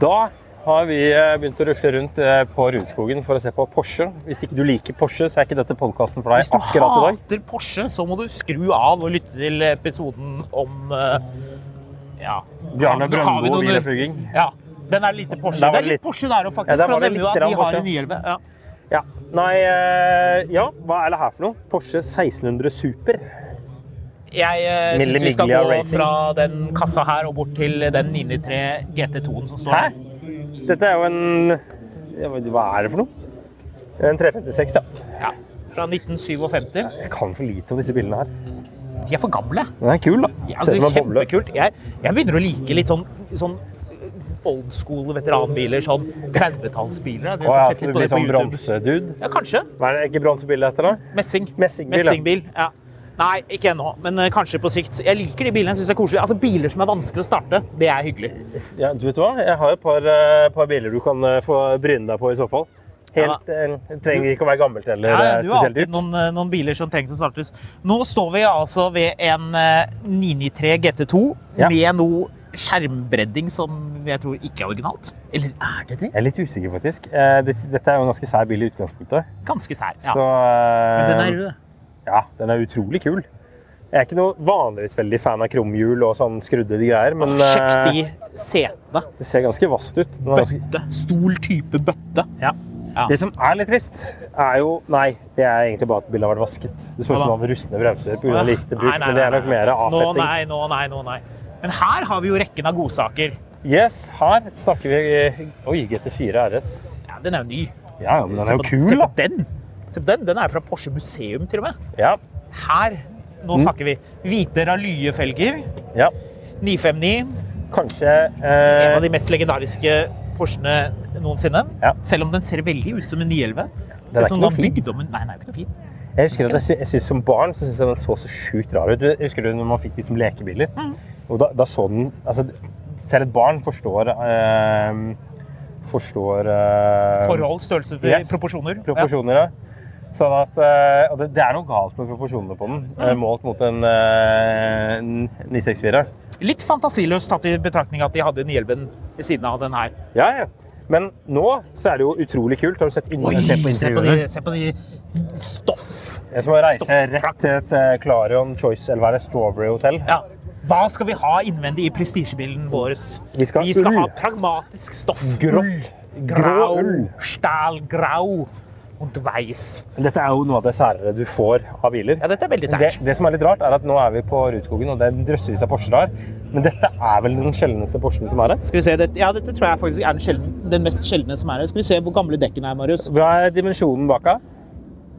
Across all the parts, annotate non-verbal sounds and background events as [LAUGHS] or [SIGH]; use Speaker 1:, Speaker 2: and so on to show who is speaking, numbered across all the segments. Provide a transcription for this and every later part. Speaker 1: Da har vi eh, begynt å rusle rundt eh, på Rudskogen for å se på Porsche. Hvis ikke du liker Porsche, så er ikke dette podkasten for
Speaker 2: Hvis
Speaker 1: deg
Speaker 2: du
Speaker 1: akkurat i dag.
Speaker 2: hater Porsche, så må du skru av og lytte til episoden om eh, ja.
Speaker 1: Bjarne
Speaker 2: Har vi- har vi
Speaker 1: Brøndbo og
Speaker 2: noen-
Speaker 1: Wilhelm Hugging.
Speaker 2: Ja. Den er lite Porsche.
Speaker 1: Der var
Speaker 2: Det
Speaker 1: det
Speaker 2: er litt
Speaker 1: litt-
Speaker 2: Porsche der òg, faktisk.
Speaker 1: Ja, der
Speaker 2: for
Speaker 1: var
Speaker 2: da
Speaker 1: det litt
Speaker 2: nevner du at
Speaker 1: grann
Speaker 2: de har
Speaker 1: Porsche.
Speaker 2: en nyhjelme. Ja.
Speaker 1: Ja. Nei eh, Ja, hva er det her for noe? Porsche 1600 Super.
Speaker 2: Jeg
Speaker 1: Mille
Speaker 2: syns vi skal
Speaker 1: Miglia
Speaker 2: gå
Speaker 1: Racing.
Speaker 2: fra den kassa her og bort til den 993 GT2-en som står
Speaker 1: Hæ?
Speaker 2: her.
Speaker 1: Dette er jo en jeg vet ikke, Hva er det for noe? En 356, ja.
Speaker 2: Ja. Fra 1957.
Speaker 1: Jeg kan for lite om disse bilene her.
Speaker 2: De er for gamle.
Speaker 1: Den er kul, da.
Speaker 2: Ja, altså,
Speaker 1: Ser ut som en boble.
Speaker 2: kjempekult. Jeg, jeg begynner å like litt sånn, sånn old school veteranbiler, sånn 30-tallsbiler. Jeg har
Speaker 1: Å ja,
Speaker 2: sett
Speaker 1: skal du
Speaker 2: litt på
Speaker 1: bli
Speaker 2: det på
Speaker 1: sånn
Speaker 2: YouTube.
Speaker 1: bronsedude?
Speaker 2: Ja, kanskje.
Speaker 1: Hva er det ikke bronsebilde etter, da?
Speaker 2: Messing.
Speaker 1: Messingbil, ja.
Speaker 2: ja. Nei, ikke ennå, men eh, kanskje på sikt. Jeg liker de bilene. jeg synes det er koselig. Altså, Biler som er vanskelig å starte, det er hyggelig.
Speaker 1: Ja, du vet hva? Jeg har et par, eh, par biler du kan eh, få bryne deg på i så fall. Helt, eh, det trenger ikke å være gammelt eller
Speaker 2: Ja,
Speaker 1: eh,
Speaker 2: du har
Speaker 1: spesielt
Speaker 2: alltid
Speaker 1: dyrt.
Speaker 2: noen, eh, noen biler som trengs å startes. Nå står vi altså ved en eh, 993 GT2
Speaker 1: Ja.
Speaker 2: med noe skjermbredding som jeg tror ikke er originalt. Eller er det det?
Speaker 1: Jeg er litt usikker, faktisk. Eh, det, dette er jo en ganske sær bil i utgangspunktet.
Speaker 2: Ganske sær. Ja.
Speaker 1: Så
Speaker 2: Men
Speaker 1: eh,
Speaker 2: den er rød.
Speaker 1: Ja, den er utrolig kul. Jeg er ikke noe vanligvis veldig fan av kromhjul og sånn skrudde greier, men
Speaker 2: Sjekk
Speaker 1: eh,
Speaker 2: de setene.
Speaker 1: det ser ganske vast ut. Den er ganske...
Speaker 2: Bøtte. Stol type bøtte. Ja.
Speaker 1: Det som er litt trist, er jo Nei, det er egentlig bare at bilen har vært vasket. Det så ut som
Speaker 2: Ja da.
Speaker 1: den hadde rustne bremser pga. lite bruk,
Speaker 2: Nei, nei,
Speaker 1: men det er
Speaker 2: nei,
Speaker 1: nok
Speaker 2: nei.
Speaker 1: mer
Speaker 2: Nå
Speaker 1: avfetting.
Speaker 2: nei, nå nei, nå nei. Men her har vi jo rekken av godsaker.
Speaker 1: Yes, her snakker vi eh, Oi, GT4 RS.
Speaker 2: Ja, den er jo ny.
Speaker 1: Ja, ja, men den er jo
Speaker 2: Se på-
Speaker 1: kul,
Speaker 2: Se
Speaker 1: da.
Speaker 2: på den. Se på den. Den er fra Porsche museum, til og med.
Speaker 1: Ja,
Speaker 2: Her.
Speaker 1: Mm.
Speaker 2: Nå snakker vi. Hvite raljefelger.
Speaker 1: ja.
Speaker 2: 959.
Speaker 1: Kanskje
Speaker 2: En av
Speaker 1: eh,
Speaker 2: de mest legendariske Porschene noensinne.
Speaker 1: Ja.
Speaker 2: Selv om den ser veldig ut som en 911.
Speaker 1: Den er
Speaker 2: Ser ut som
Speaker 1: ikke noe
Speaker 2: den
Speaker 1: fin.
Speaker 2: bygde om en- Nei, den er jo ikke noe fin.
Speaker 1: Jeg husker at jeg, sy- jeg synes som barn så synes jeg den så så sjukt rar ut. Jeg Husker du når man fikk de som lekebiler?
Speaker 2: Mm.
Speaker 1: Og da, da så den altså, Selv et barn forstår eh, Forstår eh,
Speaker 2: Forhold, størrelse,
Speaker 1: Yes.
Speaker 2: proporsjoner.
Speaker 1: proporsjoner. Ja. Sånn at, eh, og det, det er noe galt med proporsjonene på den, eh,
Speaker 2: Mm.
Speaker 1: målt mot en eh, 964.
Speaker 2: Ja. Litt fantasiløst tatt i betraktning at de hadde 911 ved siden av den her.
Speaker 1: Ja, ja. Men nå så er det jo utrolig kult. Har du sett
Speaker 2: Oi,
Speaker 1: inni- se på
Speaker 2: se på
Speaker 1: interiøret?
Speaker 2: de, se på de stoff.
Speaker 1: Jeg skal reise rett til et eh, Clarion Choice eller hva er det, Strawberry Hotel.
Speaker 2: Ja. Hva skal vi ha innvendig i prestisjebilen vår?
Speaker 1: Vi skal ha ull.
Speaker 2: ha pragmatisk stoff.
Speaker 1: Grått.
Speaker 2: Ull.
Speaker 1: Grå
Speaker 2: Grau.
Speaker 1: ull.
Speaker 2: Stahlgrau. Und weiß.
Speaker 1: Dette er jo noe av det særere du får av biler.
Speaker 2: Ja, dette er veldig
Speaker 1: det,
Speaker 2: sært.
Speaker 1: det som er litt rart, er at nå er vi på Rudskogen, og det er drøssevis av Porscher her. Men dette er vel den sjeldneste Porschen som er her?
Speaker 2: Skal vi se, det, ja, Dette tror jeg faktisk er den, sjelden- den mest sjeldne som er her. Skal vi se hvor gamle dekkene er, Marius.
Speaker 1: Hva er dimensjonen bak her?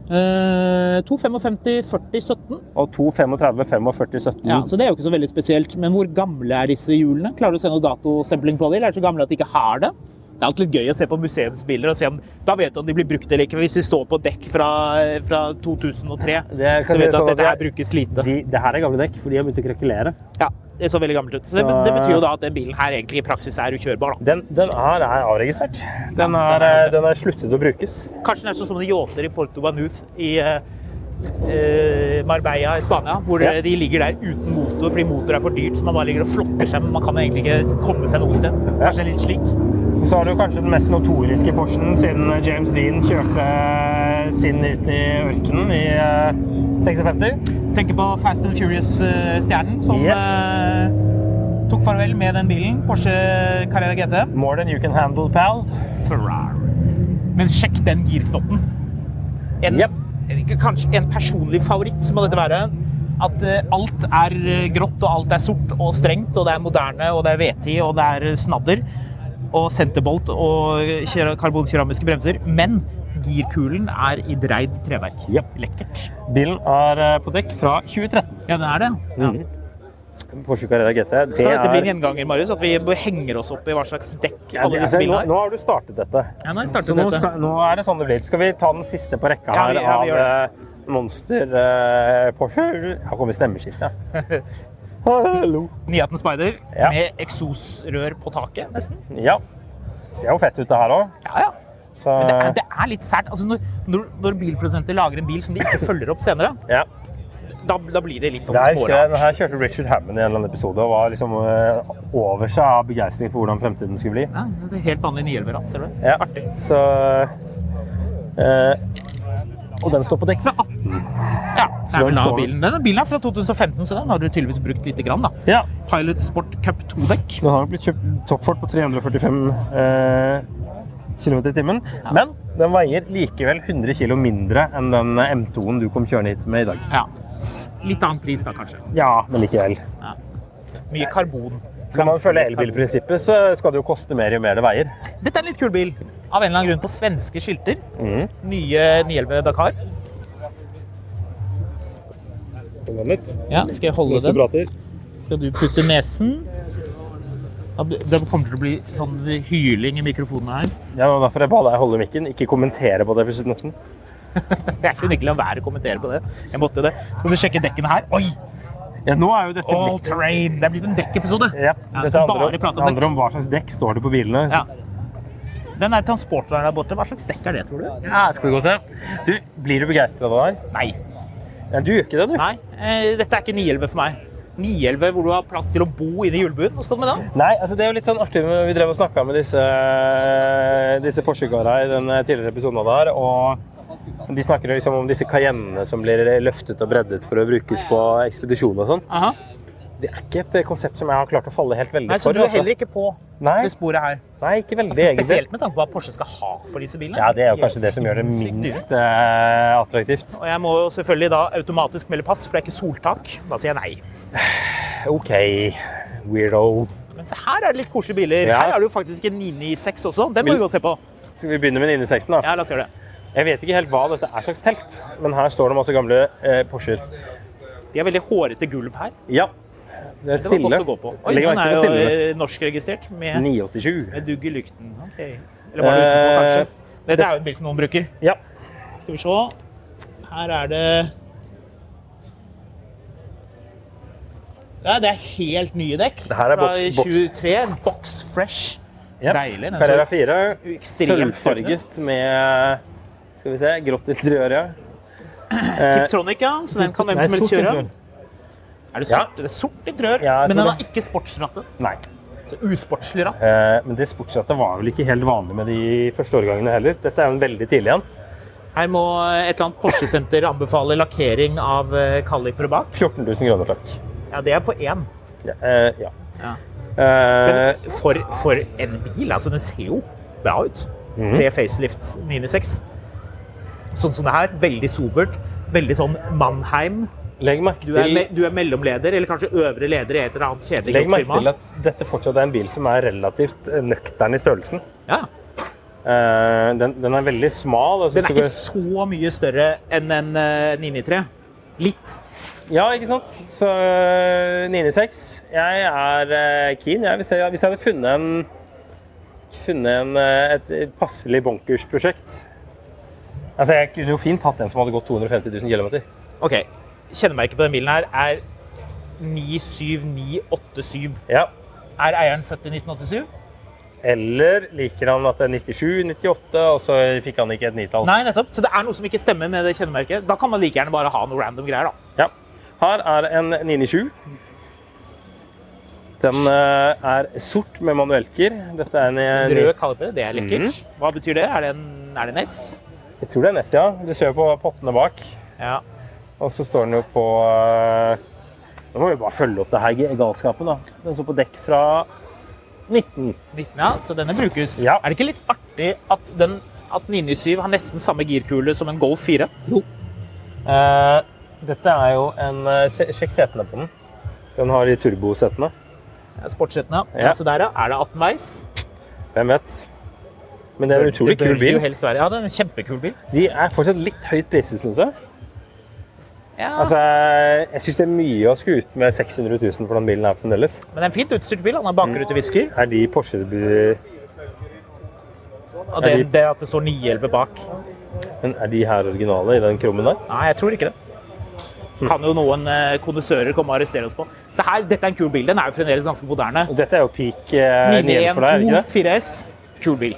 Speaker 2: Eh, 255, 40, 17.
Speaker 1: Og 2, 35, 45, 17.
Speaker 2: Ja, så Det er jo ikke så veldig spesielt. Men hvor gamle er disse hjulene? Klarer du å se noe datostempling på dem? Eller er de så gamle at de ikke har det? Det er alltid litt gøy å se på museumsbiler og se om Da vet du om de blir brukt eller ikke. Hvis de står på dekk fra, fra 2003,
Speaker 1: Det er
Speaker 2: så
Speaker 1: kanskje
Speaker 2: vet du
Speaker 1: sånn
Speaker 2: at
Speaker 1: at
Speaker 2: dette
Speaker 1: de
Speaker 2: her
Speaker 1: er-
Speaker 2: brukes lite.
Speaker 1: De, det her er gamle dekk, for de har begynt å krakelere.
Speaker 2: Ja, Det så veldig gammelt ut. Så det,
Speaker 1: Så-
Speaker 2: det betyr jo da at den bilen her egentlig i praksis er ukjørbar. da.
Speaker 1: Den, den her er avregistrert. Den er, eh, den er sluttet å brukes.
Speaker 2: Kanskje den er sånn som de yachter i Porto Banús i, eh, eh, Marbella i Spania, hvor
Speaker 1: Ja.
Speaker 2: de ligger der uten motor fordi motor er for dyrt, så man bare ligger og flotter seg, men man kan egentlig ikke komme seg noe sted. Kanskje litt slik.
Speaker 1: Så har du kanskje den mest notoriske Porschen siden James Dean kjørte sin ut i ørkenen i eh, 56.
Speaker 2: Tenker på Fast and Furious-stjernen som
Speaker 1: Yes.
Speaker 2: eh, tok farvel med den bilen, Porsche Carrera GT.
Speaker 1: More than you can handle, pal.
Speaker 2: Ferrari. Men sjekk den girknotten. En,
Speaker 1: Jep.
Speaker 2: Kanskje en personlig favoritt må dette være. At eh, alt er eh, grått, og alt er sort og strengt, og det er moderne, og det er VT, og det er eh, snadder, og senterbolt og eh, kera- karbonkeramiske bremser. Men girkulen er i dreid treverk.
Speaker 1: Jep.
Speaker 2: Lekkert.
Speaker 1: Bilen er eh, på dekk fra 2013.
Speaker 2: Ja, det er det.
Speaker 1: Mhm. Porsche Carrera GT. Det
Speaker 2: Skal dette bli en
Speaker 1: er-
Speaker 2: gjenganger, Marius? At vi henger oss opp i hva slags dekk
Speaker 1: Ja,
Speaker 2: alle
Speaker 1: det-
Speaker 2: disse
Speaker 1: altså, nå,
Speaker 2: bilene har?
Speaker 1: nå har du startet dette.
Speaker 2: Ja, nå har jeg startet
Speaker 1: Så nå,
Speaker 2: dette.
Speaker 1: skal, nå er det sånn det blir. Skal vi ta den siste på rekka
Speaker 2: Ja,
Speaker 1: her
Speaker 2: vi- ja, vi
Speaker 1: av
Speaker 2: gjør
Speaker 1: eh, Monster eh, Porsche? Her kommer
Speaker 2: [LAUGHS]
Speaker 1: stemmeskiftet. Hallo.
Speaker 2: 918 Spider
Speaker 1: Ja.
Speaker 2: med eksosrør på taket, nesten.
Speaker 1: Ja. Ser jo fett ut det her òg.
Speaker 2: Ja, ja.
Speaker 1: Så
Speaker 2: Men det er, det er litt sært. Altså, når, når, når bilprodusenter lager en bil som de ikke følger opp senere,
Speaker 1: ja.
Speaker 2: da, da blir det litt sånn
Speaker 1: Det her, husker jeg,
Speaker 2: smårart.
Speaker 1: den her kjørte Richard Hammond i en eller annen episode og var liksom eh, over seg av begeistring for hvordan fremtiden skulle bli.
Speaker 2: Ja, det er helt vanlig 911 ratt, ser du.
Speaker 1: Ja.
Speaker 2: Artig.
Speaker 1: Så eh, Og den står på dekk fra 18.
Speaker 2: Ja,
Speaker 1: den
Speaker 2: nei, men da,
Speaker 1: står-
Speaker 2: bilen, denne bilen er fra 2015, så den har du tydeligvis brukt lite grann, da.
Speaker 1: Ja.
Speaker 2: Pilot Sport Cup 2-dekk.
Speaker 1: Den har jo blitt kjøpt toppfart på 345 eh, km i timen. Men den veier likevel 100 kg mindre enn den M2-en du kom kjørende hit med i dag.
Speaker 2: Ja. Litt annen pris, da, kanskje.
Speaker 1: Ja, men likevel.
Speaker 2: Mye karbon.
Speaker 1: Skal man følge elbilprinsippet, så skal det jo koste mer jo mer det veier.
Speaker 2: Dette er en litt kul bil. Av en eller annen grunn på svenske skilter.
Speaker 1: Mm.
Speaker 2: Nye 911 Dakar. Ja, skal jeg holde den? Skal du pusse nesen? Da bl- Det kommer til å bli sånn hyling i mikrofonen her. [LAUGHS]
Speaker 1: Ja, det var derfor jeg ba deg holde mikken, ikke kommentere på det. for slutten.
Speaker 2: Jeg kunne ikke la være å kommentere på det. Jeg måtte det. Skal du sjekke dekkene her? Oi!
Speaker 1: Ja, nå er jo dette
Speaker 2: All
Speaker 1: litt-
Speaker 2: terrain! Det er blitt en dekkepisode.
Speaker 1: Ja, dette handler
Speaker 2: så
Speaker 1: om,
Speaker 2: bare
Speaker 1: det
Speaker 2: prate om
Speaker 1: handler
Speaker 2: dekk.
Speaker 1: om hva slags dekk står det på bilene.
Speaker 2: Ja. Den der transporteren der borte, hva slags dekk er det, tror du?
Speaker 1: Ja, skal vi gå og se. Du, blir du begeistra av det her?
Speaker 2: Nei.
Speaker 1: Ja, du gjør ikke det, du.
Speaker 2: Nei, eh, dette er ikke 911 for meg. 911 hvor du har plass til å bo inne i hjulbuen. Hva skal du med da?
Speaker 1: Nei, altså det er jo litt sånn artig. men Vi drev og snakka med disse, eh, disse Porsche-kara i den eh, tidligere episoden der. Og de snakker jo liksom om disse Cayennene som blir løftet og breddet for å brukes på ekspedisjon og sånn.
Speaker 2: Aha.
Speaker 1: Det er ikke et konsept som jeg har klart å falle helt veldig
Speaker 2: Nei, så
Speaker 1: for. altså.
Speaker 2: du er heller ikke på
Speaker 1: Nei,
Speaker 2: det sporet her.
Speaker 1: nei, ikke veldig,
Speaker 2: Altså,
Speaker 1: egentlig.
Speaker 2: spesielt med tanke på hva Porsche skal ha for disse bilene.
Speaker 1: Ja, Det er jo kanskje
Speaker 2: De
Speaker 1: det som gjør det
Speaker 2: sinnssykt dyre.
Speaker 1: minst eh, attraktivt.
Speaker 2: Og jeg må jo selvfølgelig da automatisk melde pass, for det er ikke soltak. Da sier jeg nei.
Speaker 1: OK, weirdo.
Speaker 2: Men se her er det litt koselige biler.
Speaker 1: Ja.
Speaker 2: Her er det jo faktisk en 996 også. Den må vi gå og se på.
Speaker 1: Skal vi begynne med 960, da?
Speaker 2: Ja, la oss gjøre det.
Speaker 1: Jeg vet ikke helt hva dette er slags telt, men her står det masse gamle eh, Porscher.
Speaker 2: De er veldig hårete gulv her.
Speaker 1: Ja, det er
Speaker 2: Det var
Speaker 1: stille.
Speaker 2: godt å gå på. Oi,
Speaker 1: Legg
Speaker 2: den
Speaker 1: merke
Speaker 2: er
Speaker 1: til
Speaker 2: jo
Speaker 1: stille.
Speaker 2: eh, norskregistrert med,
Speaker 1: 987.
Speaker 2: med dugg i lykten. Ok. Eller var det utenpå,
Speaker 1: Eh,
Speaker 2: kanskje? Dette er jo en bil som noen bruker.
Speaker 1: Ja.
Speaker 2: Skal vi se. Her er det Nei, det er helt nye dekk.
Speaker 1: Det her er
Speaker 2: fra
Speaker 1: boks- boks.
Speaker 2: 23. Box fresh.
Speaker 1: ja.
Speaker 2: Deilig, den
Speaker 1: Carrera
Speaker 2: så-
Speaker 1: 4.
Speaker 2: Ekstremt
Speaker 1: Sølvfarget med eh, Skal vi se grått interiør, ja.
Speaker 2: Eh, Tiptronic, ja. Så den kan hvem som helst kjøre. Er det
Speaker 1: Ja.
Speaker 2: sort, det er sort interiør,
Speaker 1: Ja, jeg
Speaker 2: men
Speaker 1: tror
Speaker 2: den
Speaker 1: det.
Speaker 2: er ikke sportsrattet.
Speaker 1: Nei.
Speaker 2: Så usportslig ratt.
Speaker 1: Eh, men det sportsrattet var vel ikke helt vanlig med de første årgangene heller. Dette er jo en veldig tidlig en.
Speaker 2: Her må et eller annet Porsche-senter anbefale lakkering av eh, kaliper bak.
Speaker 1: 14 000 kroner, takk.
Speaker 2: Ja, det er på én.
Speaker 1: Ja. eh, ja.
Speaker 2: Ja.
Speaker 1: Eh,
Speaker 2: Men for, for en bil, altså. Den ser jo bra ut.
Speaker 1: Mhm.
Speaker 2: Tre facelift 996. Sånn som det her. Veldig sobert. Veldig sånn Mannheim.
Speaker 1: legg merke
Speaker 2: Du er,
Speaker 1: til
Speaker 2: me du er mellomleder, eller kanskje øvre leder i et eller annet kjedelig
Speaker 1: Legg merke til
Speaker 2: firma.
Speaker 1: at dette fortsatt er en bil som er relativt eh, nøktern i størrelsen.
Speaker 2: Ja.
Speaker 1: Eh, den, den er veldig smal. Jeg synes
Speaker 2: Den er
Speaker 1: det
Speaker 2: ikke så mye større enn en eh, 993. Litt.
Speaker 1: går- Ja, ikke sant? Så eh, 996. Jeg er eh, keen. Jeg, hvis, jeg, hvis jeg hadde funnet en funnet en, eh, et, et passelig bonkersprosjekt Altså, Jeg kunne jo fint hatt en som hadde gått 250 000 km.
Speaker 2: Ok, kjennemerket på denne bilen her er 97987.
Speaker 1: Ja.
Speaker 2: Er eieren født i 1987?
Speaker 1: Eller liker han at det er 97, 98, og så fikk han ikke et nitall?
Speaker 2: Nei, nettopp. Så det er noe som ikke stemmer med det kjennemerket. Da kan man like gjerne bare ha noe random greier, da.
Speaker 1: Ja. Her er en 997. Den eh, er sort med manuelker. Dette er en eh,
Speaker 2: Rød kaliber, det er lekkert. Hva betyr det? Er det en, er det en S?
Speaker 1: Jeg tror det er Nessia. Du ser jo på pottene bak.
Speaker 2: Ja.
Speaker 1: Og så står den jo på eh, Nå må vi bare følge opp det her ge- galskapen, da. Den står på dekk fra 19.
Speaker 2: 19, ja. Så denne brukes.
Speaker 1: Ja.
Speaker 2: Er det ikke litt artig at den at 997 har nesten samme girkule som en Golf 4?
Speaker 1: Eh, dette er jo en eh, se- Sjekk setene på den. Den har de turbosetene.
Speaker 2: Sportsjetten, ja.
Speaker 1: Ja.
Speaker 2: ja. Så der, ja. Er det 18 veis?
Speaker 1: Hvem vet? Men det er en utrolig
Speaker 2: Det bør
Speaker 1: kul bil.
Speaker 2: Jo helst være. Ja, det er en kjempekul bil.
Speaker 1: De er fortsatt litt høyt priset, syns jeg.
Speaker 2: Ja.
Speaker 1: Altså, jeg syns det er mye å skulle ut med 600 000 for den bilen her fremdeles.
Speaker 2: Men det er en fint utstyrt bil. Han har
Speaker 1: Mm.
Speaker 2: bakrutevisker.
Speaker 1: Er de Porsche Men
Speaker 2: Og det,
Speaker 1: Er de-
Speaker 2: det at det står 911 bak
Speaker 1: er de her originale i den krummen der?
Speaker 2: Nei, jeg tror ikke det.
Speaker 1: Mm.
Speaker 2: Kan jo noen eh, kondisører komme og arrestere oss på. Så her, Dette er en kul bil. Den er jo fremdeles ganske moderne.
Speaker 1: Dette er jo peak eh, 911 for deg, er det ikke det?
Speaker 2: 912-4S. Kul bil.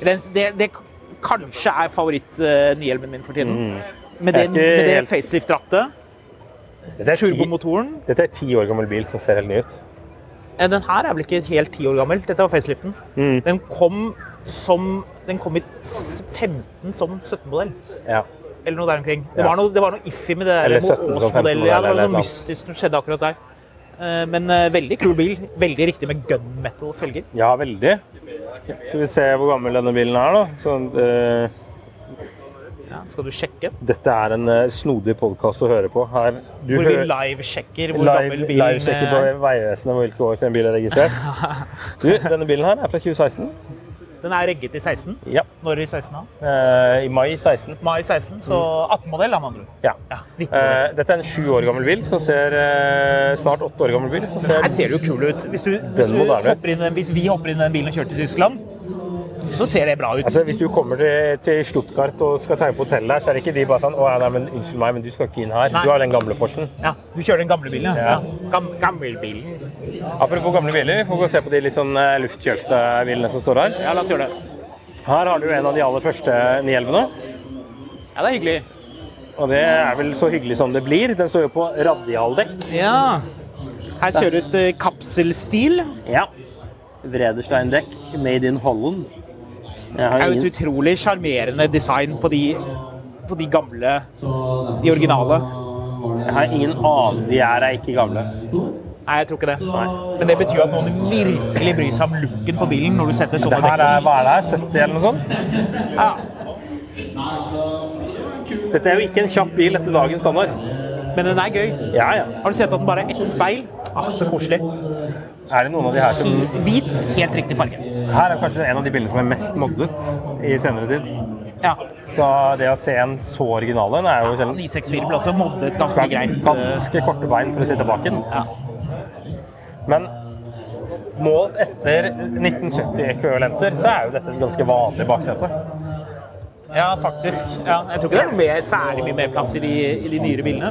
Speaker 2: Den, det, det k- kanskje er favoritt-nyhjelmen min for tiden. Med,
Speaker 1: Jeg Mm. er
Speaker 2: det,
Speaker 1: ikke
Speaker 2: med det
Speaker 1: helt-
Speaker 2: facelift-rattet,
Speaker 1: Dette er, ti,
Speaker 2: turbomotoren
Speaker 1: dette er ti år gammel bil som ser helt ny ut.
Speaker 2: Eh, Den her er vel ikke helt ti år gammel. Dette var faceliften.
Speaker 1: Mm.
Speaker 2: Den kom som Den kom i s- 15 som 17-modell.
Speaker 1: Ja.
Speaker 2: Eller noe der omkring. Det
Speaker 1: Ja.
Speaker 2: var noe, det var noe iffy med det der
Speaker 1: Eller
Speaker 2: med
Speaker 1: 17 som
Speaker 2: årsmodell. Ja, det
Speaker 1: eller
Speaker 2: var
Speaker 1: noe
Speaker 2: noe mystisk som skjedde akkurat der. Eh, Men eh, veldig kul bil. Veldig riktig med gunmetal-felger.
Speaker 1: Ja, veldig. Skal vi se hvor gammel denne bilen er, da. Sånn, eh,
Speaker 2: Ja, skal du sjekke?
Speaker 1: dette er en eh, snodig podkast å høre på. Her, du
Speaker 2: Hvor vi
Speaker 1: hører-
Speaker 2: live-sjekker hvor gammel
Speaker 1: live,
Speaker 2: bilen
Speaker 1: live sjekker på
Speaker 2: eh,
Speaker 1: Vegvesenet hvilke år en bil er registrert.
Speaker 2: [LAUGHS]
Speaker 1: Du, denne bilen her er fra 2016.
Speaker 2: Den er regget i 16.
Speaker 1: Ja.
Speaker 2: Når i 16? da?
Speaker 1: Eh, I mai 16.
Speaker 2: Mai 16, så 18-modell, da, med andre ord.
Speaker 1: Ja.
Speaker 2: Ja, 19-modell.
Speaker 1: Eh, dette er en sju år gammel bil som ser eh, Snart åtte år gammel bil som ser
Speaker 2: Her ser det jo kul ut. Hvis, du, hvis, du
Speaker 1: moderne ut.
Speaker 2: hopper inn, i den- hvis vi hopper inn i den bilen og kjører til Tyskland, så ser det bra ut.
Speaker 1: Altså, Hvis du kommer til, til Stuttgart og skal tegne på hotellet, her, så er det ikke de bare sånn Å, nei, men unnskyld meg, men du skal ikke inn her.
Speaker 2: Nei.
Speaker 1: Du har den gamle Porschen.
Speaker 2: Ja, du kjører den gamle bilen, ja.
Speaker 1: Ja.
Speaker 2: ja. Gam, gammelbilen.
Speaker 1: Apropos gamle biler, vi får gå og se på de litt sånn eh, luftkjølte bilene som står her.
Speaker 2: Ja, la oss gjøre det.
Speaker 1: Her har du en av de aller første 911-ene.
Speaker 2: Ja, det er hyggelig.
Speaker 1: Og det er vel så hyggelig som det blir. Den står jo på radialdekk.
Speaker 2: Ja. Her kjøres det kapselstil.
Speaker 1: Ja. Vredersteindekk made in Holland. Jeg
Speaker 2: Det
Speaker 1: har
Speaker 2: er jo et
Speaker 1: ingen
Speaker 2: utrolig sjarmerende design på de, på de gamle, de originale.
Speaker 1: Jeg har ingen aning. De er er ikke gamle.
Speaker 2: Nei, jeg tror ikke det. Men det betyr jo at noen virkelig bryr seg om looken på bilen når du setter
Speaker 1: Det
Speaker 2: sånne
Speaker 1: her
Speaker 2: dekk.
Speaker 1: er, hva er det her? 70 eller noe sånt?
Speaker 2: Ja.
Speaker 1: Dette er jo ikke en kjapp bil etter dagens standard.
Speaker 2: Men den er gøy.
Speaker 1: Ja, ja.
Speaker 2: Har du sett at den bare er ett speil? Ah, så koselig.
Speaker 1: Er det noen av de her som
Speaker 2: Hvit, helt riktig farge.
Speaker 1: Her er kanskje en av de bildene som er mest moddet i senere tid.
Speaker 2: Ja.
Speaker 1: Så det å se en så original en er jo sjelden.
Speaker 2: 964 ble også moddet ganske greit. eh,
Speaker 1: Ganske korte bein for å sitte bak den.
Speaker 2: Ja.
Speaker 1: Men målt etter 1970-ekvivalenter, så er jo dette et ganske vanlig baksete.
Speaker 2: Ja, faktisk. Ja, jeg tror ikke det er noe mer, særlig mye mer plass i de, i de nyere bilene.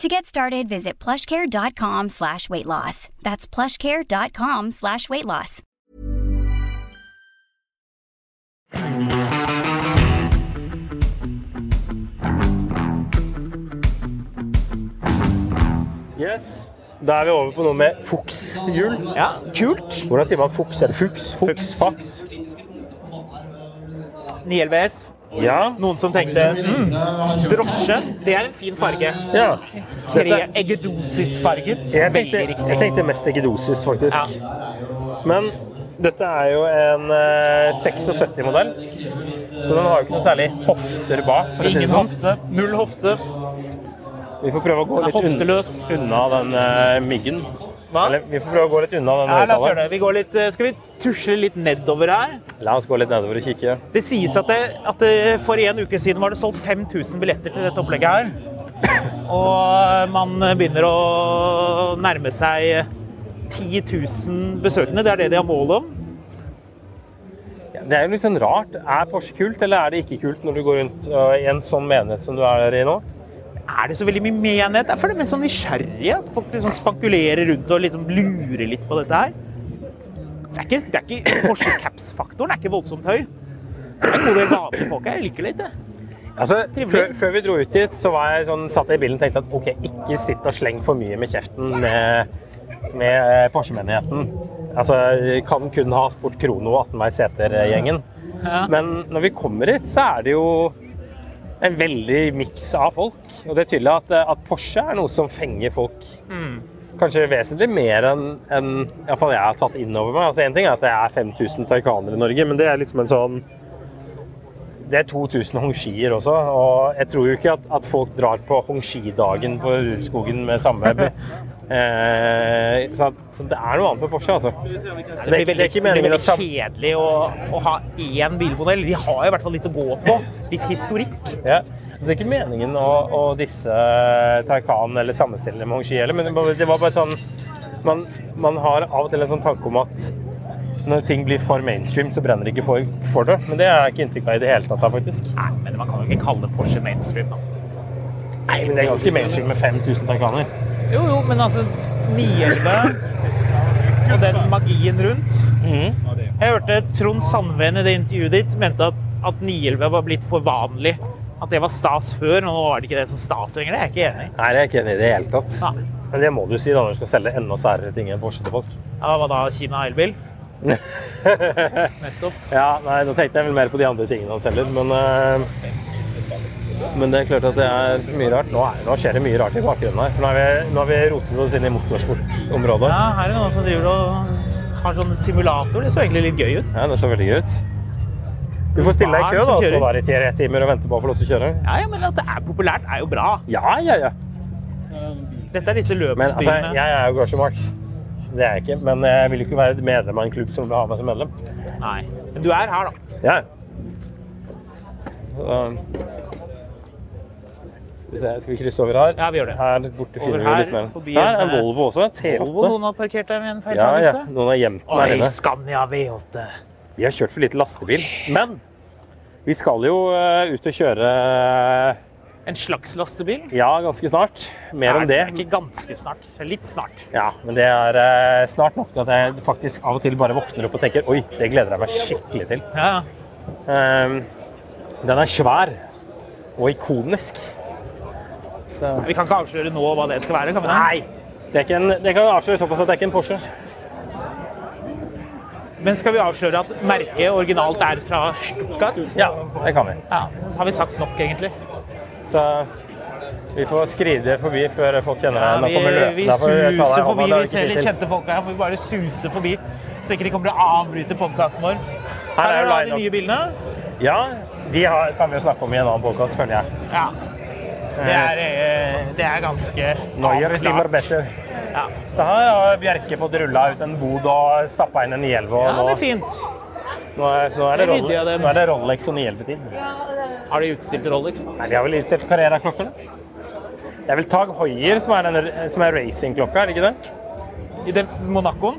Speaker 3: To get started, visit plushcare.com slash weight loss. That's plushcare.com slash weight loss.
Speaker 1: Yes. Da er vi over på noe med fukshjul.
Speaker 2: Ja, kult.
Speaker 1: Hvordan sier man fuks? Er det fuks? Fuks?
Speaker 2: Fuks.
Speaker 1: Faks?
Speaker 2: 911 S.
Speaker 1: Ja.
Speaker 2: Noen som tenkte mm, drosje, det er en fin farge.
Speaker 1: ja.
Speaker 2: Tre eggedosisfarget.
Speaker 1: Jeg tenkte,
Speaker 2: Veldig
Speaker 1: jeg
Speaker 2: riktig.
Speaker 1: tenkte mest eggedosis, faktisk. Men dette er jo en 76-modell, så den har jo ikke noe særlig hofter bak. For å si det
Speaker 2: Ingen
Speaker 1: sånn.
Speaker 2: hofte. Null hofte.
Speaker 1: Vi får prøve å gå
Speaker 2: Den er
Speaker 1: litt unna,
Speaker 2: hofteløs.
Speaker 1: unna den eh, myggen.
Speaker 2: Hva?
Speaker 1: Eller vi får prøve å gå litt unna den
Speaker 2: Ja, la oss gjøre
Speaker 1: høyttaleren.
Speaker 2: det. Vi går litt, eh, skal vi tusle litt nedover her?
Speaker 1: La oss gå litt nedover og kikke.
Speaker 2: Det sies at, det, at det, for en uke siden var det solgt 5000 billetter til dette opplegget her. Og man begynner å nærme seg 10 000 besøkende. Det er det de har mål om.
Speaker 1: Det er jo litt sånn rart. Er Porsche kult, eller er det ikke kult når du går rundt eh, i en sånn menighet som du er i nå?
Speaker 2: Er det så veldig mye menighet? Jeg føler meg sånn nysgjerrig. At folk liksom spankulerer rundt og liksom lurer litt på dette her. Det er ikke, det er ikke Porsche Caps-faktoren er ikke voldsomt høy. Det er en god del vanlige folk her. Jeg liker det litt, jeg.
Speaker 1: Altså,
Speaker 2: Trivelig.
Speaker 1: før, før vi dro ut dit, så var jeg sånn, satt jeg i bilen og tenkte at ok, ikke sitt og sleng for mye med kjeften med, med eh, Porsche-menigheten. Altså, kan kun ha Sport Krono og eh, 18-veis seter-gjengen. Men når vi kommer hit, så er det jo en veldig miks av folk. Og det er tydelig at, eh, at Porsche er noe som fenger folk.
Speaker 2: Mm.
Speaker 1: Kanskje vesentlig mer enn enn i hvert fall jeg har tatt inn over meg. Altså, en ting er at det er 5000 taycanere i Norge, men det er liksom en sånn det er 2000 hongshier også, og jeg tror jo ikke at, at folk drar på hongshidagen på Rudskogen med samme
Speaker 2: [LAUGHS]
Speaker 1: eh, så, at, så det er noe annet med Porsche, altså.
Speaker 2: Det blir veldig,
Speaker 1: det er ikke meningen
Speaker 2: det
Speaker 1: å
Speaker 2: blir
Speaker 1: sam-
Speaker 2: veldig kjedelig å, å ha én bilmodell. De har jo i hvert fall litt å gå på. Litt historikk.
Speaker 1: Ja. Så det er ikke meningen å, å disse eh, Taycan eller sammenstille med hongshi heller, men det var- det var bare sånn man, man har av og til en sånn tanke om at når ting blir for mainstream, så brenner ikke folk for det. Men det er jeg ikke inntrykk av i det hele tatt, da, faktisk.
Speaker 2: Nei, men man kan jo ikke kalle Porsche mainstream, da.
Speaker 1: Nei, men det er ganske mainstream med 5000 Taycaner.
Speaker 2: Jo, jo, men altså 911 og den magien rundt. Jeg hørte Trond Sandven i det intervjuet ditt mente at, at 911 var blitt for vanlig. At det var stas før, nå var det ikke det som stas lenger. Det er jeg ikke enig i.
Speaker 1: Nei, det er ikke enig i det hele tatt.
Speaker 2: Nei.
Speaker 1: Men det må du si da når du skal selge enda særere ting enn Porsche til folk.
Speaker 2: Ja, Hva da, Kina elbil? Nettopp.
Speaker 1: Ja, nei, nå tenkte jeg vel mer på de andre tingene han selger, men eh, Men det er klart at det er mye rart. Nå, er, nå skjer det mye rart i bakgrunnen her. For nå har vi, nå har vi rotet oss inn i motorsportområdet.
Speaker 2: Ja, her er det noen som driver og har sånn simulator. Det så egentlig litt gøy ut.
Speaker 1: Ja, det ser veldig gøy ut. Du får stille deg i kø da, og stå der i tre timer og vente på å få lov til å kjøre.
Speaker 2: Ja, ja, men at det er populært, er jo bra.
Speaker 1: Ja, ja, ja.
Speaker 2: Dette er disse
Speaker 1: Men altså,
Speaker 2: løpsbilene.
Speaker 1: jeg er jo Groucho Marx. Det er jeg ikke. Men jeg vil jo ikke være medlem av en klubb som vil ha meg som medlem.
Speaker 2: Nei. Men du er her, da.
Speaker 1: Ja. Så- Skal vi se, skal vi krysse over her?
Speaker 2: Ja, vi gjør det.
Speaker 1: Her borte finner
Speaker 2: Over
Speaker 1: vi jo
Speaker 2: her,
Speaker 1: litt mer.
Speaker 2: forbi
Speaker 1: Så her er en
Speaker 2: en, eh,
Speaker 1: Volvo også. T8.
Speaker 2: Volvo noen har parkert deg med en
Speaker 1: Ja, ja.
Speaker 2: feiltagelse.
Speaker 1: Noen har gjemt den her
Speaker 2: Oi,
Speaker 1: inne.
Speaker 2: Scania V8.
Speaker 1: Vi har kjørt for lite lastebil. Men vi skal jo eh, ut og kjøre eh,
Speaker 2: En slags lastebil?
Speaker 1: ja, ganske snart. Mer om
Speaker 2: Nei,
Speaker 1: det.
Speaker 2: Ikke ganske snart. Litt snart.
Speaker 1: Ja, men det er eh, snart nok til at jeg faktisk av og til bare våkner opp og tenker oi, det gleder jeg meg skikkelig til.
Speaker 2: Ja, ja.
Speaker 1: Ehm, den er svær og ikonisk. Så
Speaker 2: Vi kan ikke avsløre nå hva det skal være, kan vi det?
Speaker 1: Nei! Det, er ikke en, det kan jo avsløre såpass at det er ikke en Porsche.
Speaker 2: Men skal vi avsløre at merket originalt er fra Stuttgart?
Speaker 1: Ja, det kan vi.
Speaker 2: Ja, så har vi sagt nok, egentlig.
Speaker 1: Så eh, vi får skride forbi før folk kjenner deg. Da
Speaker 2: vi,
Speaker 1: kommer løpene.
Speaker 2: vi
Speaker 1: Da får vi ta deg i hånda,
Speaker 2: suser forbi.
Speaker 1: det er
Speaker 2: Vi
Speaker 1: ikke
Speaker 2: ser
Speaker 1: tid
Speaker 2: litt
Speaker 1: til.
Speaker 2: kjente folk her. Vi bare suser forbi, så ikke de kommer til å avbryte podkasten vår.
Speaker 1: Her er jo
Speaker 2: da de
Speaker 1: line-up.
Speaker 2: nye bilene.
Speaker 1: Ja, de har, kan vi jo snakke om i en annen podkast, føler jeg.
Speaker 2: Ja. Det er, eh, det er ganske
Speaker 1: Neuer
Speaker 2: avklart.
Speaker 1: slimmer better.
Speaker 2: Ja.
Speaker 1: Så her har Bjerke fått rulla ut en bod og stappa inn en 911. og
Speaker 2: Ja, det
Speaker 1: nå-
Speaker 2: er fint.
Speaker 1: Nå er, nå, er det
Speaker 2: Det er vidde av
Speaker 1: Rolex,
Speaker 2: dem.
Speaker 1: nå er det Rolex og 911-tid.
Speaker 2: Har de utstilt Rolex?
Speaker 1: Nei, de har vel utstilt Carrera-klokkene? Det er vel Tag Hoier som er, den- som er racingklokka, er det ikke det?
Speaker 2: I den Monacoen?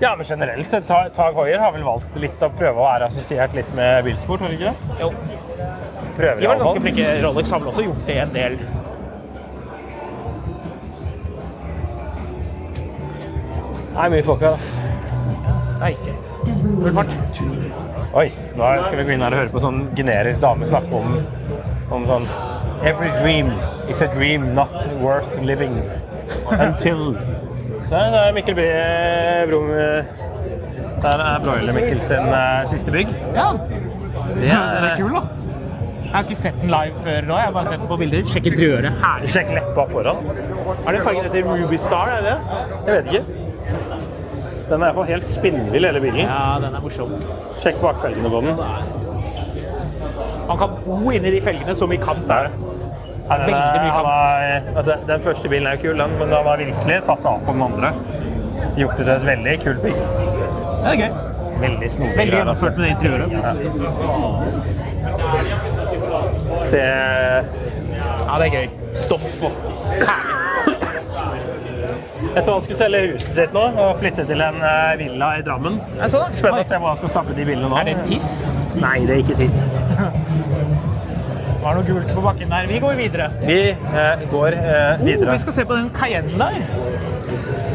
Speaker 1: Ja, men generelt sett, Ta- Tag Hoier har vel valgt litt å prøve å være assosiert litt med bilsport, har de ikke det?
Speaker 2: Jo.
Speaker 1: Prøver
Speaker 2: De var ganske
Speaker 1: iallfall.
Speaker 2: flinke. Rolex har vel også gjort det en del.
Speaker 1: Det er mye folk her, altså.
Speaker 2: Steike. Full fart.
Speaker 1: Oi, nå skal vi gå inn her og høre på sånn generisk dame snakke om, om sånn Every dream is a dream not worth living until Så det er Mikkel Brum Der er Broiler Mikkel sin eh, siste bygg. Eh,
Speaker 2: Ja. Det er kul, da. Jeg har ikke sett den live før nå. Jeg har bare sett den på bilder. Sjekk interiøret. Herlig.
Speaker 1: Sjekk leppa foran.
Speaker 2: Er det fargen etter Ruby Star? Er det? det?
Speaker 1: Jeg vet ikke. Den er i hvert fall helt spinnvill, hele bilen.
Speaker 2: Ja, den er morsom.
Speaker 1: Sjekk bakfelgene på den.
Speaker 2: Man kan bo inni de felgene som i kant er.
Speaker 1: Nei, den, er,
Speaker 2: Veldig mye
Speaker 1: han er, altså, den første bilen er jo kul, den, men han har virkelig tatt av på den andre. Gjort det til et veldig kult bil.
Speaker 2: Ja, det er gøy.
Speaker 1: Veldig snodig.
Speaker 2: Veldig
Speaker 1: greier, altså.
Speaker 2: gjennomført med det interiøret.
Speaker 1: Se,
Speaker 2: Ja, det er gøy. Stoff og
Speaker 1: jeg så han skulle selge huset sitt nå og flytte til en eh, villa i Drammen.
Speaker 2: Jeg så det.
Speaker 1: Spennende å se hvor han skal stappe de bilene nå.
Speaker 2: Er det tiss?
Speaker 1: Nei, det er ikke tiss.
Speaker 2: Det var noe gult på bakken der. Vi går videre.
Speaker 1: Vi eh, går eh,
Speaker 2: Oh,
Speaker 1: videre.
Speaker 2: vi skal se på den Cayenne der.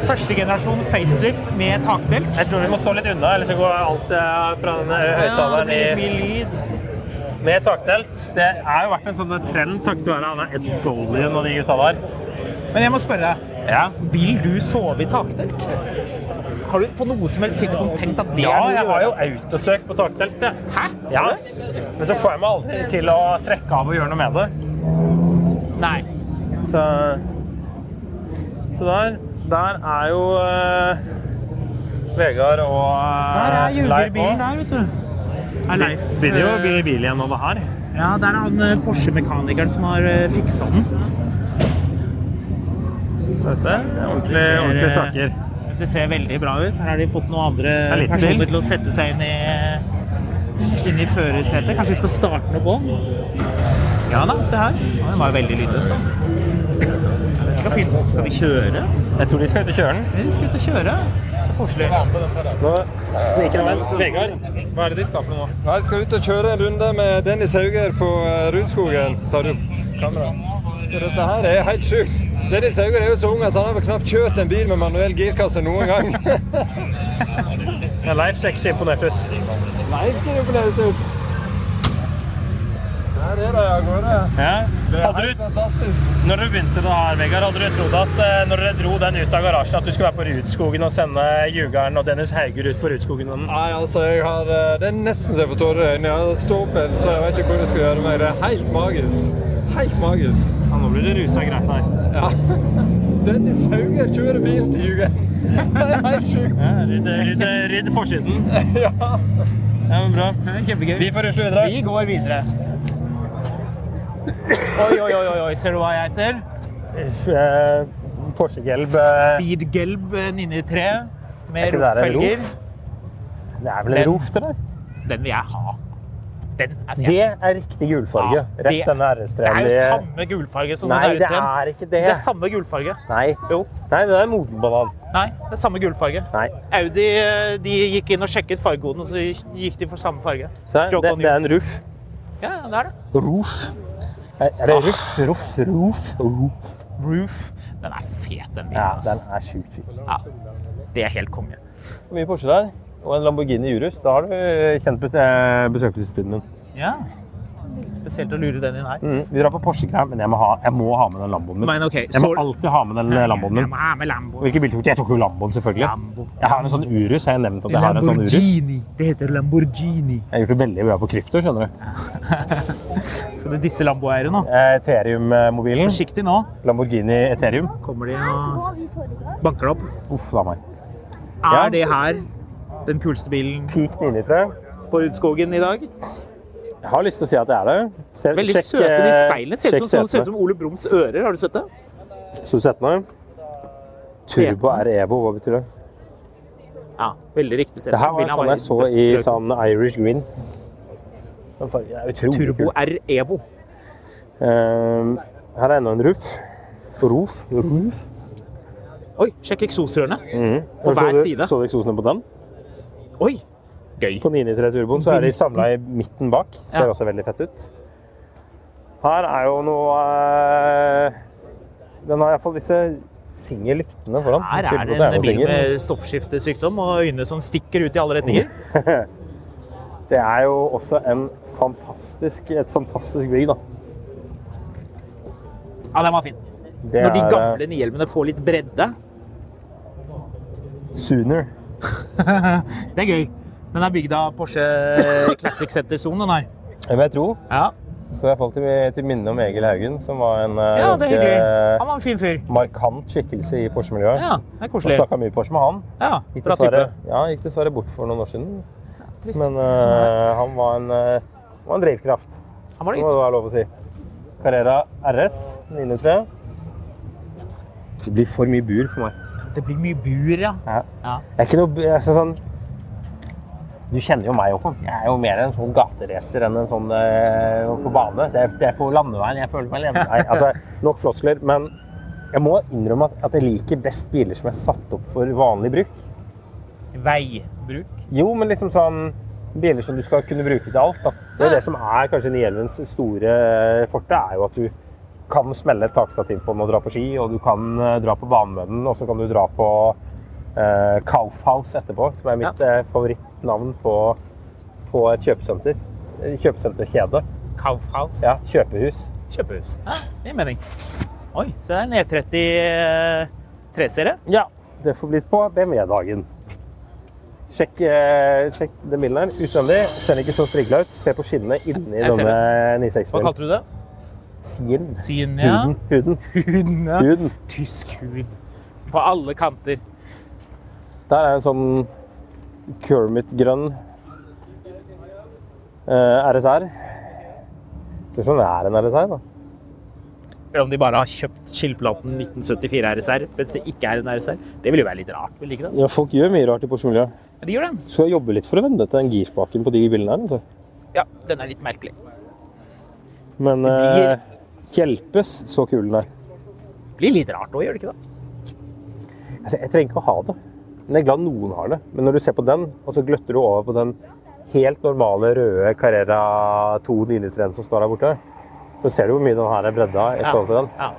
Speaker 2: Første generasjon facelift med takdelt.
Speaker 1: Jeg tror vi må stå litt unna, ellers så går alt eh, fra den eh,
Speaker 2: det
Speaker 1: høyttaleren
Speaker 2: blir litt
Speaker 1: i
Speaker 2: mye lyd.
Speaker 1: Med taktelt. Det har jo vært en sånn trend takket være han er Ed Bolien og de gutta der.
Speaker 2: Men jeg må spørre deg.
Speaker 1: Ja.
Speaker 2: Vil du sove i takdelt? Har du på noe som helst tidspunkt tenkt at det
Speaker 1: Ja,
Speaker 2: er noe
Speaker 1: jeg
Speaker 2: å
Speaker 1: har jo
Speaker 2: gjøre?
Speaker 1: autosøk på taktelt. jeg.
Speaker 2: Hæ?
Speaker 1: Ja. Men så får jeg meg aldri til å trekke av og gjøre noe med det.
Speaker 2: Nei.
Speaker 1: Så, så der, der er jo eh, Vegard og eh,
Speaker 2: Der er
Speaker 1: Leif
Speaker 2: jugerbilen
Speaker 1: også.
Speaker 2: der, vet du. Er Leif,
Speaker 1: Begynner jo å
Speaker 2: eh,
Speaker 1: bli bil igjen av det her.
Speaker 2: Ja, der er han eh, Porsche-mekanikeren som har eh, fiksa den.
Speaker 1: Dette er ordentlig,
Speaker 2: Ser,
Speaker 1: ordentlige
Speaker 2: eh,
Speaker 1: saker.
Speaker 2: Det ser veldig bra ut. Her har de fått noen andre
Speaker 1: er liten
Speaker 2: personer
Speaker 1: bil.
Speaker 2: til å sette seg inn i, inn i førersetet. Kanskje vi skal starte den og gå? Ja da, se her. Ja, Den var jo veldig lydløs, da. Det Skal, fint. skal vi kjøre?
Speaker 1: Jeg tror de skal ut og kjøre den.
Speaker 2: Vi skal ut og kjøre. Så koselig.
Speaker 1: Nå sniker de inn. Vegard, hva er det de skal for noe nå?
Speaker 4: Nei, jeg skal ut og kjøre en runde med Dennis Hauger på eh, Rudskogen. Tar du kamera? Ja, Dette her er helt sjukt. Dennis Hauger er jo så ung at han har vel knapt kjørt en bil med manuell girkasse noen gang.
Speaker 1: Ja, Leif ser ikke så imponert ut.
Speaker 4: [LAUGHS] Nei, ser jo imponert ut. Der er de av gårde.
Speaker 1: Ja.
Speaker 4: Det er
Speaker 1: Hadde
Speaker 4: helt
Speaker 1: du,
Speaker 4: fantastisk.
Speaker 1: når du begynte det her, Vegard, hadde du trodd at eh, når dere dro den ut av garasjen, at du skulle være på Rudskogen og sende Jugeren og Dennis Hauger ut på Rudskogen? og den?
Speaker 4: Nei, altså, jeg har eh, Det er nesten så jeg får tårer i øynene. Jeg har ståpels, så jeg vet ikke hvor jeg skal gjøre meg. Det er helt magisk. Helt magisk.
Speaker 1: Ja, nå blir det rusa greit her.
Speaker 4: Ja. Dennis Hauger kjører bilen til Hauger. [LAUGHS] Det er helt sjukt.
Speaker 1: Rydd, rydd, rydd
Speaker 2: [LAUGHS]
Speaker 1: forsiden. Ja. men bra.
Speaker 2: Kjempegøy.
Speaker 1: Vi får rusle videre.
Speaker 2: Vi går videre. Oi, oi, oi, oi, oi. ser du hva jeg ser?
Speaker 1: Porsche Gelb eh,
Speaker 2: Speedgelb eh, 993
Speaker 1: Er
Speaker 2: med
Speaker 1: ikke det der en
Speaker 2: rofffelger.
Speaker 1: Det er vel en
Speaker 2: Den-
Speaker 1: Roof, det der?
Speaker 2: Den vil jeg ha. Den er fet.
Speaker 1: Det er riktig gulfarge.
Speaker 2: Ja,
Speaker 1: Rett
Speaker 2: det-
Speaker 1: denne
Speaker 2: Det er jo
Speaker 1: RS-treen.
Speaker 2: samme gulfarge som
Speaker 1: Nei,
Speaker 2: den
Speaker 1: det
Speaker 2: RS-en.
Speaker 1: er ikke det.
Speaker 2: Det er samme gulfarge.
Speaker 1: Nei.
Speaker 2: Jo.
Speaker 1: Nei, det er moden banan.
Speaker 2: Nei, det er samme gulfarge.
Speaker 1: Nei.
Speaker 2: Audi eh, de gikk inn og sjekket fargekoden, og så gikk de for samme farge.
Speaker 1: Se,
Speaker 2: Joke
Speaker 1: det,
Speaker 2: on
Speaker 1: det
Speaker 2: you.
Speaker 1: er en Roof.
Speaker 2: Ja, ja, det er det.
Speaker 1: Roof. Er er
Speaker 2: Ah.
Speaker 1: det Roof? Roof, Roof, Roof.
Speaker 2: Roof. Den er fet, den bilen.
Speaker 1: Ja,
Speaker 2: ass.
Speaker 1: den er sjukt fin.
Speaker 2: Det er helt konge.
Speaker 1: Mye Porsche der, og en Lamborghini Urus. Da har du eh, kjent bet- eh, besøkelsestiden min.
Speaker 2: Ja. Litt spesielt å lure den inn her.
Speaker 1: Mm, vi drar på Porsche-greier, men jeg må, ha, jeg må ha med den Lamboen min.
Speaker 2: Men OK,
Speaker 1: Jeg må
Speaker 2: så-
Speaker 1: alltid ha med den eh, Lamboen min.
Speaker 2: Jeg må ha med Lambo.
Speaker 1: Hvilken bil tok du? Jeg tok jo Lamboen, selvfølgelig.
Speaker 2: Lambo.
Speaker 1: Jeg har en sånn Urus. Jeg har nevnt at jeg har en sånn Urus.
Speaker 2: Det heter Lamborghini.
Speaker 1: Jeg har gjort det veldig bra på krypto, skjønner du.
Speaker 2: Så det er disse Lamboeiere nå.
Speaker 1: Eh, Ethereum-mobilen.
Speaker 2: Forsiktig nå.
Speaker 1: Lamborghini Ethereum.
Speaker 2: Kommer de og banker det opp.
Speaker 1: Uff da meg. Ja.
Speaker 2: Er det her den kuleste bilen
Speaker 1: Peak 993.
Speaker 2: på Rudskogen i dag?
Speaker 1: Jeg har lyst til å si at det er det. Se,
Speaker 2: Veldig
Speaker 1: sjekk,
Speaker 2: søte de
Speaker 1: eh,
Speaker 2: speilene. Ser ut
Speaker 1: sjekk
Speaker 2: som, sånn, ser
Speaker 1: setene.
Speaker 2: ut som Ole Brums ører. Har du sett det?
Speaker 1: Så du settene? Turbo er Evo, hva betyr det?
Speaker 2: Ja, veldig riktig sett.
Speaker 1: Det her var en
Speaker 2: Bilen
Speaker 1: sånn jeg så i
Speaker 2: dødsrød.
Speaker 1: sånn Irish Green. Den fargen er utrolig
Speaker 2: Turbo
Speaker 1: kul.
Speaker 2: R Evo.
Speaker 1: Ehm, her er enda en Roof. Roof? Roof?
Speaker 2: Oi, sjekk eksosrørene.
Speaker 1: Har du så
Speaker 2: hver
Speaker 1: du-
Speaker 2: side.
Speaker 1: Så du eksosene på den?
Speaker 2: Oi! Gøy.
Speaker 1: På 993 Turboen så er de samla i midten bak. Ser
Speaker 2: Ja.
Speaker 1: også veldig fett ut. Her er jo noe eh, Den har iallfall disse singe lyktene foran.
Speaker 2: Her
Speaker 1: Sier
Speaker 2: er
Speaker 1: du
Speaker 2: det
Speaker 1: at
Speaker 2: en
Speaker 1: noe
Speaker 2: bil
Speaker 1: singel?
Speaker 2: med stoffskiftesykdom og øyne som stikker ut i alle retninger.
Speaker 1: Det er jo også en fantastisk, et fantastisk bygg, da.
Speaker 2: Ja, den var fin.
Speaker 1: Det
Speaker 2: Når de
Speaker 1: er, eh,
Speaker 2: gamle nihjelmene får litt bredde.
Speaker 1: eh, Sooner.
Speaker 2: Det er gøy. Den er bygd av Porsche Classic Center-sonen, den her.
Speaker 1: Jeg vil tro.
Speaker 2: Ja,
Speaker 1: Det står i hvert fall til, til minne om Egil Haugen, som var en eh,
Speaker 2: ja det er
Speaker 1: ganske
Speaker 2: hyggelig. Han var en fin fyr.
Speaker 1: markant skikkelse i Porsche-miljøet.
Speaker 2: Ja, det er
Speaker 1: Jeg
Speaker 2: koselig.
Speaker 1: snakka mye Porsche med han.
Speaker 2: Ja,
Speaker 1: Gikk
Speaker 2: bra type.
Speaker 1: dessverre, ja, gikk dessverre bort for noen år siden.
Speaker 2: Trist. Sånn
Speaker 1: Men eh, han var en, eh, var en drivkraft,
Speaker 2: Han var
Speaker 1: det må det
Speaker 2: litt.
Speaker 1: være lov å si. Carrera RS 903. Det blir for mye bur for meg.
Speaker 2: Det blir mye bur, ja.
Speaker 1: Ja.
Speaker 2: Ja.
Speaker 1: Jeg er ikke noe bu- jeg er sånn, Du kjenner jo meg, Håkon. Jeg er jo mer en sånn gateracer enn en sånn eh, på bane. Det er, det er på landeveien jeg føler meg alene. Nei, altså, nok floskler. Men jeg må innrømme at, at jeg liker best biler som er satt opp for vanlig bruk.
Speaker 2: Veibruk.
Speaker 1: Jo, men liksom sånn biler som du skal kunne bruke til alt. Da. Det er det som er kanskje 911s store forte, er jo at du kan smelle et takstativ på den og dra på ski, og du kan eh, dra på banen med den, og så kan du dra på eh, Kaufhaus etterpå, som er mitt eh, favorittnavn på, på et kjøpesenter. Eh, Kjøpesenterkjede.
Speaker 2: Kaufhaus.
Speaker 1: Ja, kjøpehus.
Speaker 2: Kjøpehus. Ja, det gir mening. Oi, så det er en E30 eh, 3-serie.
Speaker 1: Ja, det får blitt på BMW-dagen. Sjekk, eh, sjekk den bilen her. Utvendig ser den ikke så strigla ut. Se på skinnene inni
Speaker 2: Jeg ser
Speaker 1: denne
Speaker 2: Hva
Speaker 1: 964-en.
Speaker 2: kalte du det?
Speaker 1: Sien.
Speaker 2: Syn, ja.
Speaker 1: Huden. Huden.
Speaker 2: Huden, ja.
Speaker 1: Huden.
Speaker 2: Tysk hud. På alle kanter.
Speaker 1: Der er en sånn Kermit-grønn eh, RSR. Skal vi se om det er en RSR, da.
Speaker 2: Eller om de bare har kjøpt skilplaten 1974 RSR, mens det ikke er en RSR. Det vil jo være litt rart, vil det ikke det?
Speaker 1: Ja, folk gjør mye rart i Porsche-miljøet.
Speaker 2: Men de gjør det.
Speaker 1: Skal jeg jobbe litt for å vende til den girspaken på de bilene her, altså.
Speaker 2: Ja, den er litt merkelig.
Speaker 1: Men eh, hjelpes så kul den er.
Speaker 2: Blir litt rart òg, gjør det ikke det?
Speaker 1: Altså, jeg trenger ikke å ha det. Men jeg er glad noen har det. Men når du ser på den, og så gløtter du over på den helt normale røde Carrera 293-en som står der borte, så ser du hvor mye den her er bredda i forhold til den.
Speaker 2: Ja.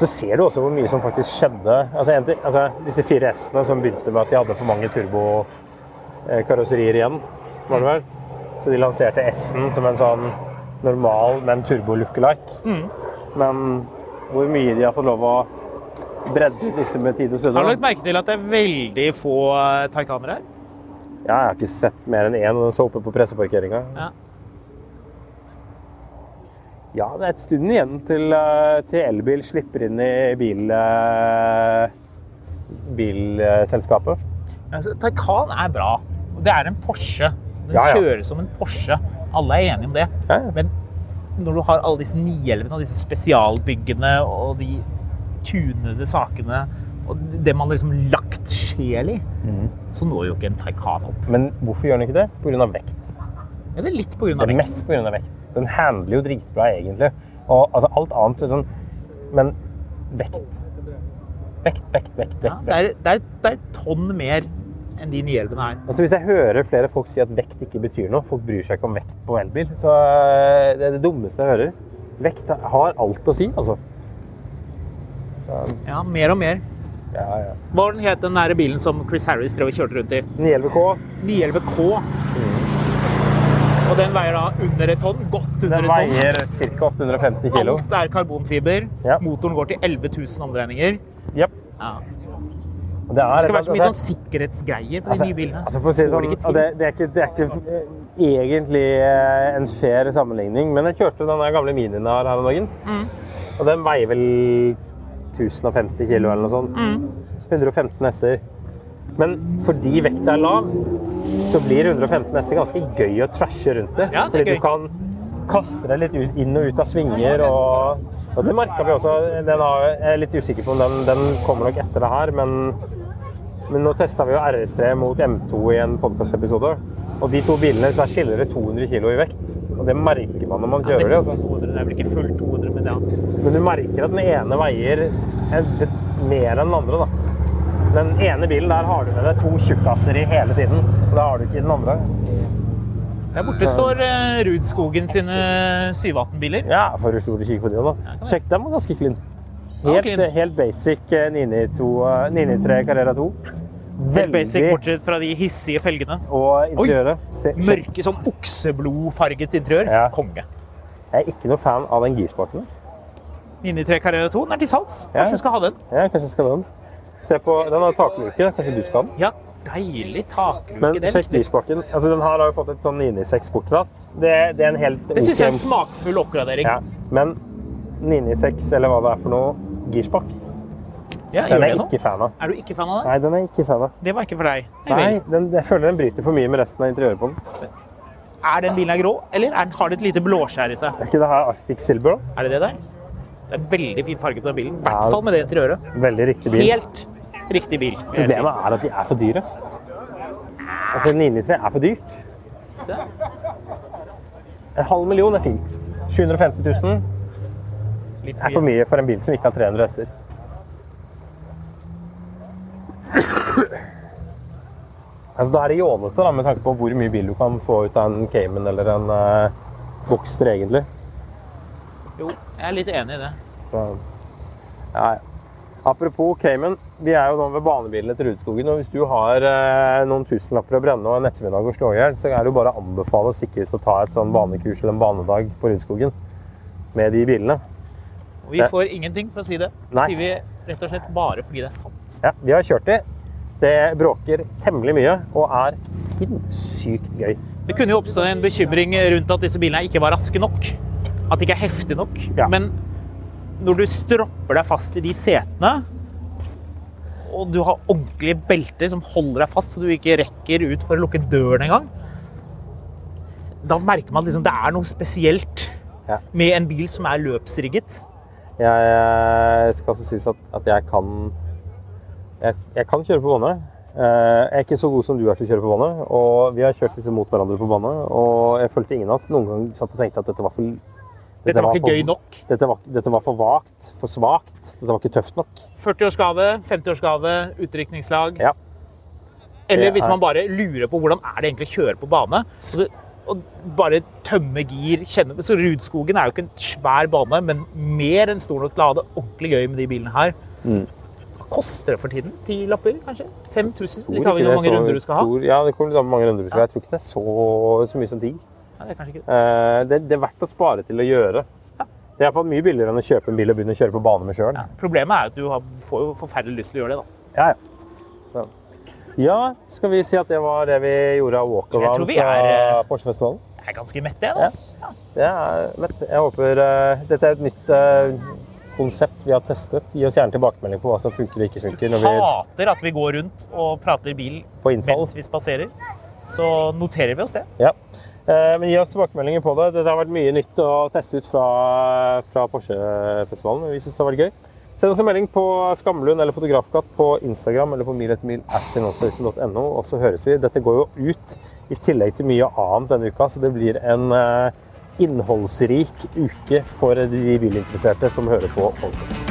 Speaker 1: Så ser du også hvor mye som faktisk skjedde. Altså, en ting, altså disse fire hestene som begynte med at de hadde for mange turbokarosserier igjen, var det vel? Så de lanserte S-en som en sånn normal, men turbo-lookalike.
Speaker 2: Mm.
Speaker 1: Men hvor mye de har fått lov å bredde ut disse med tid og stunder.
Speaker 2: Har du
Speaker 1: da.
Speaker 2: lagt merke til at det er veldig få eh, Taycaner her?
Speaker 1: Ja, jeg har ikke sett mer enn én, og den så oppe på presseparkeringa.
Speaker 2: Ja.
Speaker 1: Ja, det er et stund igjen til, eh, til elbil slipper inn i bil, eh, bilselskapet.
Speaker 2: Altså, Taycan er bra. Og Det er en Porsche. Den
Speaker 1: Ja, ja.
Speaker 2: kjøres som en Porsche. Alle er enige om det.
Speaker 1: Ja, ja.
Speaker 2: Men når du har alle disse 911-ene og disse spesialbyggene og de tunede sakene og det man liksom lagt sjel i,
Speaker 1: Mhm.
Speaker 2: så når jo ikke en Taycan opp.
Speaker 1: Men hvorfor gjør den ikke det? Pga. vekt.
Speaker 2: Ja, det er litt på grunn
Speaker 1: Det
Speaker 2: av
Speaker 1: er
Speaker 2: vekt.
Speaker 1: mest pga. vekt. Den handler jo dritbra, egentlig. Og altså, alt annet er sånn Men vekt. Vekt, vekt, vekt.
Speaker 2: Ja,
Speaker 1: vekt,
Speaker 2: det,
Speaker 1: vekt.
Speaker 2: er, det, er, det er et tonn mer enn de 911-ene her.
Speaker 1: Altså, hvis jeg hører flere folk si at vekt ikke betyr noe, folk bryr seg ikke om vekt på elbil, så eh, det er det dummeste jeg hører. Vekt har alt å si, altså. Så,
Speaker 2: Ja, mer og mer.
Speaker 1: ja, ja.
Speaker 2: Hva var den het den nære bilen som Chris Harris drev og kjørte rundt i?
Speaker 1: 911K
Speaker 2: 911K. Og den veier da under et tonn. Godt under
Speaker 1: Den
Speaker 2: et tonn.
Speaker 1: veier ca. 850 kilo.
Speaker 2: Alt er karbonfiber.
Speaker 1: Ja.
Speaker 2: Motoren går til 11 000 omdreininger.
Speaker 1: Yep.
Speaker 2: Ja.
Speaker 1: Det, er,
Speaker 2: Det skal være så mye sånn
Speaker 1: altså,
Speaker 2: sikkerhetsgreier på de
Speaker 1: altså,
Speaker 2: nye bilene.
Speaker 1: altså, for å si det
Speaker 2: Får
Speaker 1: sånn,
Speaker 2: ikke til.
Speaker 1: og det, det, er ikke, det er ikke eh, egentlig eh, en fair sammenligning, men jeg kjørte den der gamle minien jeg har her om dagen.
Speaker 2: Mm.
Speaker 1: Og den veier vel 1050 kilo eller noe sånt.
Speaker 2: Mm.
Speaker 1: 115 hester. Men fordi vekta er lav, så blir 115 hester ganske gøy å trashe rundt det.
Speaker 2: Ja, det er
Speaker 1: fordi
Speaker 2: gøy.
Speaker 1: du kan kaste deg litt ut, inn og ut av svinger. Og, og det merka vi også. Den har, jeg er litt usikker på om den, den kommer nok etter det her, men, men nå testa vi jo RS3 mot M2 i en podkastepisode. Og de to bilene så der skiller det 200 kilo i vekt. Og det merker man når man
Speaker 2: Ja,
Speaker 1: kjører det. Altså.
Speaker 2: nesten 200. Det er vel ikke fullt 200, men ja.
Speaker 1: Men du merker at den ene veier en- mer enn den andre, da. Den ene bilen der har du med deg to tjukkaser i hele tiden. og Det har du ikke i den andre.
Speaker 2: Der borte står eh, Rudskogen sine 718-biler.
Speaker 1: Ja, for du stor å kikke på de da. Sjekk, den var ganske clean.
Speaker 2: var
Speaker 1: Helt,
Speaker 2: clean.
Speaker 1: helt basic eh, 992, eh, 993 Carrera 2.
Speaker 2: Helt basic,
Speaker 1: Veldig
Speaker 2: bortsett fra de hissige felgene.
Speaker 1: og interiøret. Se- sjekk.
Speaker 2: Mørke, sånn okseblodfarget interiør.
Speaker 1: Ja.
Speaker 2: Konge.
Speaker 1: Jeg er ikke noe fan av den girspaken.
Speaker 2: Inni 3 Carrera 2, den er til salgs.
Speaker 1: Ja.
Speaker 2: Kanskje du skal ha den?
Speaker 1: Ja, kanskje jeg skal ha den. Se på, den har takluke. Kanskje du skal ha den?
Speaker 2: Ja, deilig takluke.
Speaker 1: Men
Speaker 2: det
Speaker 1: sjekk disbakken. Altså, den her har jo fått et sånn 996 bortdratt. Det, det er en helt
Speaker 2: det syns jeg
Speaker 1: ok-
Speaker 2: er en smakfull oppgradering.
Speaker 1: ja. Men 996, eller hva det er for noe, girspakk,
Speaker 2: Ja, gjør
Speaker 1: den er
Speaker 2: det
Speaker 1: jeg
Speaker 2: nå.
Speaker 1: ikke fan av.
Speaker 2: Er du ikke fan av det?
Speaker 1: Nei, den er jeg ikke fan av.
Speaker 2: Det var ikke for deg. Nei
Speaker 1: Nei,
Speaker 2: vel.
Speaker 1: den, jeg føler den bryter for mye med resten av interiøret på den.
Speaker 2: Er den bilen her grå, eller er den, har den et lite blåskjær i seg?
Speaker 1: Er ikke det her Arctic Silver, da?
Speaker 2: Er det det der? Det er veldig fin farge på den bilen. I
Speaker 1: Ja.
Speaker 2: hvert fall med det interiøret.
Speaker 1: Veldig riktig bil.
Speaker 2: Helt riktig bil. vil jeg si.
Speaker 1: Problemet er at de er for dyre. Altså, 993 er for dyrt.
Speaker 2: Se.
Speaker 1: En halv million er fint. 750 000
Speaker 2: Litt
Speaker 1: er for mye for en bil som ikke har 300 hester. Altså, da er det jålete da, med tanke på hvor mye bil du kan få ut av en Cayman eller en eh, Boxster, egentlig.
Speaker 2: Jo, jeg er litt enig i det.
Speaker 1: Så, ja, ja. Apropos Cayman, vi er jo nå ved banebilene til Rudskogen. og Hvis du har eh, noen tusenlapper å brenne og en ettermiddag å slå i hjel, så er det jo bare å anbefale å stikke ut og ta et sånn banekurs eller en banedag på Rudskogen med de bilene.
Speaker 2: Og vi
Speaker 1: Ja.
Speaker 2: får ingenting for å si det.
Speaker 1: Nei.
Speaker 2: Sier vi rett og slett bare fordi det er sant.
Speaker 1: Ja, vi har kjørt de. Det bråker temmelig mye og er sinnssykt gøy.
Speaker 2: Det kunne jo oppstå en bekymring rundt at disse bilene ikke var raske nok. At de ikke er heftige nok.
Speaker 1: Ja.
Speaker 2: Men når du stropper deg fast i de setene, og du har ordentlige belter som holder deg fast så du ikke rekker ut for å lukke døren engang, da merker man at liksom, det er noe spesielt
Speaker 1: Ja.
Speaker 2: med en bil som er løpsrigget.
Speaker 1: Jeg skal også sies at, at jeg kan jeg, jeg kan kjøre på bane. Eh, Jeg er ikke så god som du er til å kjøre på bane. Og vi har kjørt disse mot hverandre på bane. Og jeg følte ingen av oss noen gang satt og tenkte at dette var for
Speaker 2: Dette var ikke
Speaker 1: for-
Speaker 2: gøy nok.
Speaker 1: Dette var, dette var for vagt, for svakt. Dette var ikke tøft nok.
Speaker 2: 40-årsgave, 50-årsgave, utrykningslag.
Speaker 1: Ja.
Speaker 2: Eller
Speaker 1: Det
Speaker 2: hvis
Speaker 1: er-
Speaker 2: man bare lurer på hvordan er det egentlig å kjøre på bane. Altså, og bare tømme gir, kjenne Så Rudskogen er jo ikke en svær bane, men mer enn stor nok til å ha det ordentlig gøy med de bilene her.
Speaker 1: Mm.
Speaker 2: Hva koster det for tiden? Ti lapper, kanskje? 5000? Litt avhengig av hvor mange runder du skal ha.
Speaker 1: Tror, ja, det kommer litt an på hvor mange runder du skal ha. Jeg tror ikke det er så, så mye som ti.
Speaker 2: Ja, det er kanskje ikke
Speaker 1: Eh, det, det er verdt å spare til å gjøre. Det er i hvert fall mye billigere enn å kjøpe en bil og begynne å kjøre på bane med sjøl.
Speaker 2: ja. Problemet er at du har, får jo forferdelig lyst til å gjøre det, da.
Speaker 1: Ja, ja. Så. ja, skal vi si at det var det vi gjorde av
Speaker 2: Jeg
Speaker 1: walkaround
Speaker 2: tror vi
Speaker 1: fra
Speaker 2: er, eh,
Speaker 1: Porsgrennfestivalen?
Speaker 2: Jeg er ganske mett, jeg. da.
Speaker 1: Det er, Mett, jeg håper eh, Dette er et nytt eh, konsept vi har testet. Gi oss gjerne tilbakemelding på hva som funker og ikke funker når vi
Speaker 2: Hater at vi går rundt og prater bil
Speaker 1: på innfall.
Speaker 2: mens vi spaserer. Så noterer vi oss det.
Speaker 1: Ja. Eh, Men gi oss tilbakemeldinger på det. Dette har vært mye nytt å teste ut fra, fra Porsche-festivalen. Vi synes det har vært gøy. Send oss en melding på Skamlund eller Fotografkatt på Instagram eller på mil etter mil at finansavisen.no, og så høres vi. Dette går jo ut i tillegg til mye annet denne uka, så det blir en eh, innholdsrik uke for de bilinteresserte som hører på Oldcast.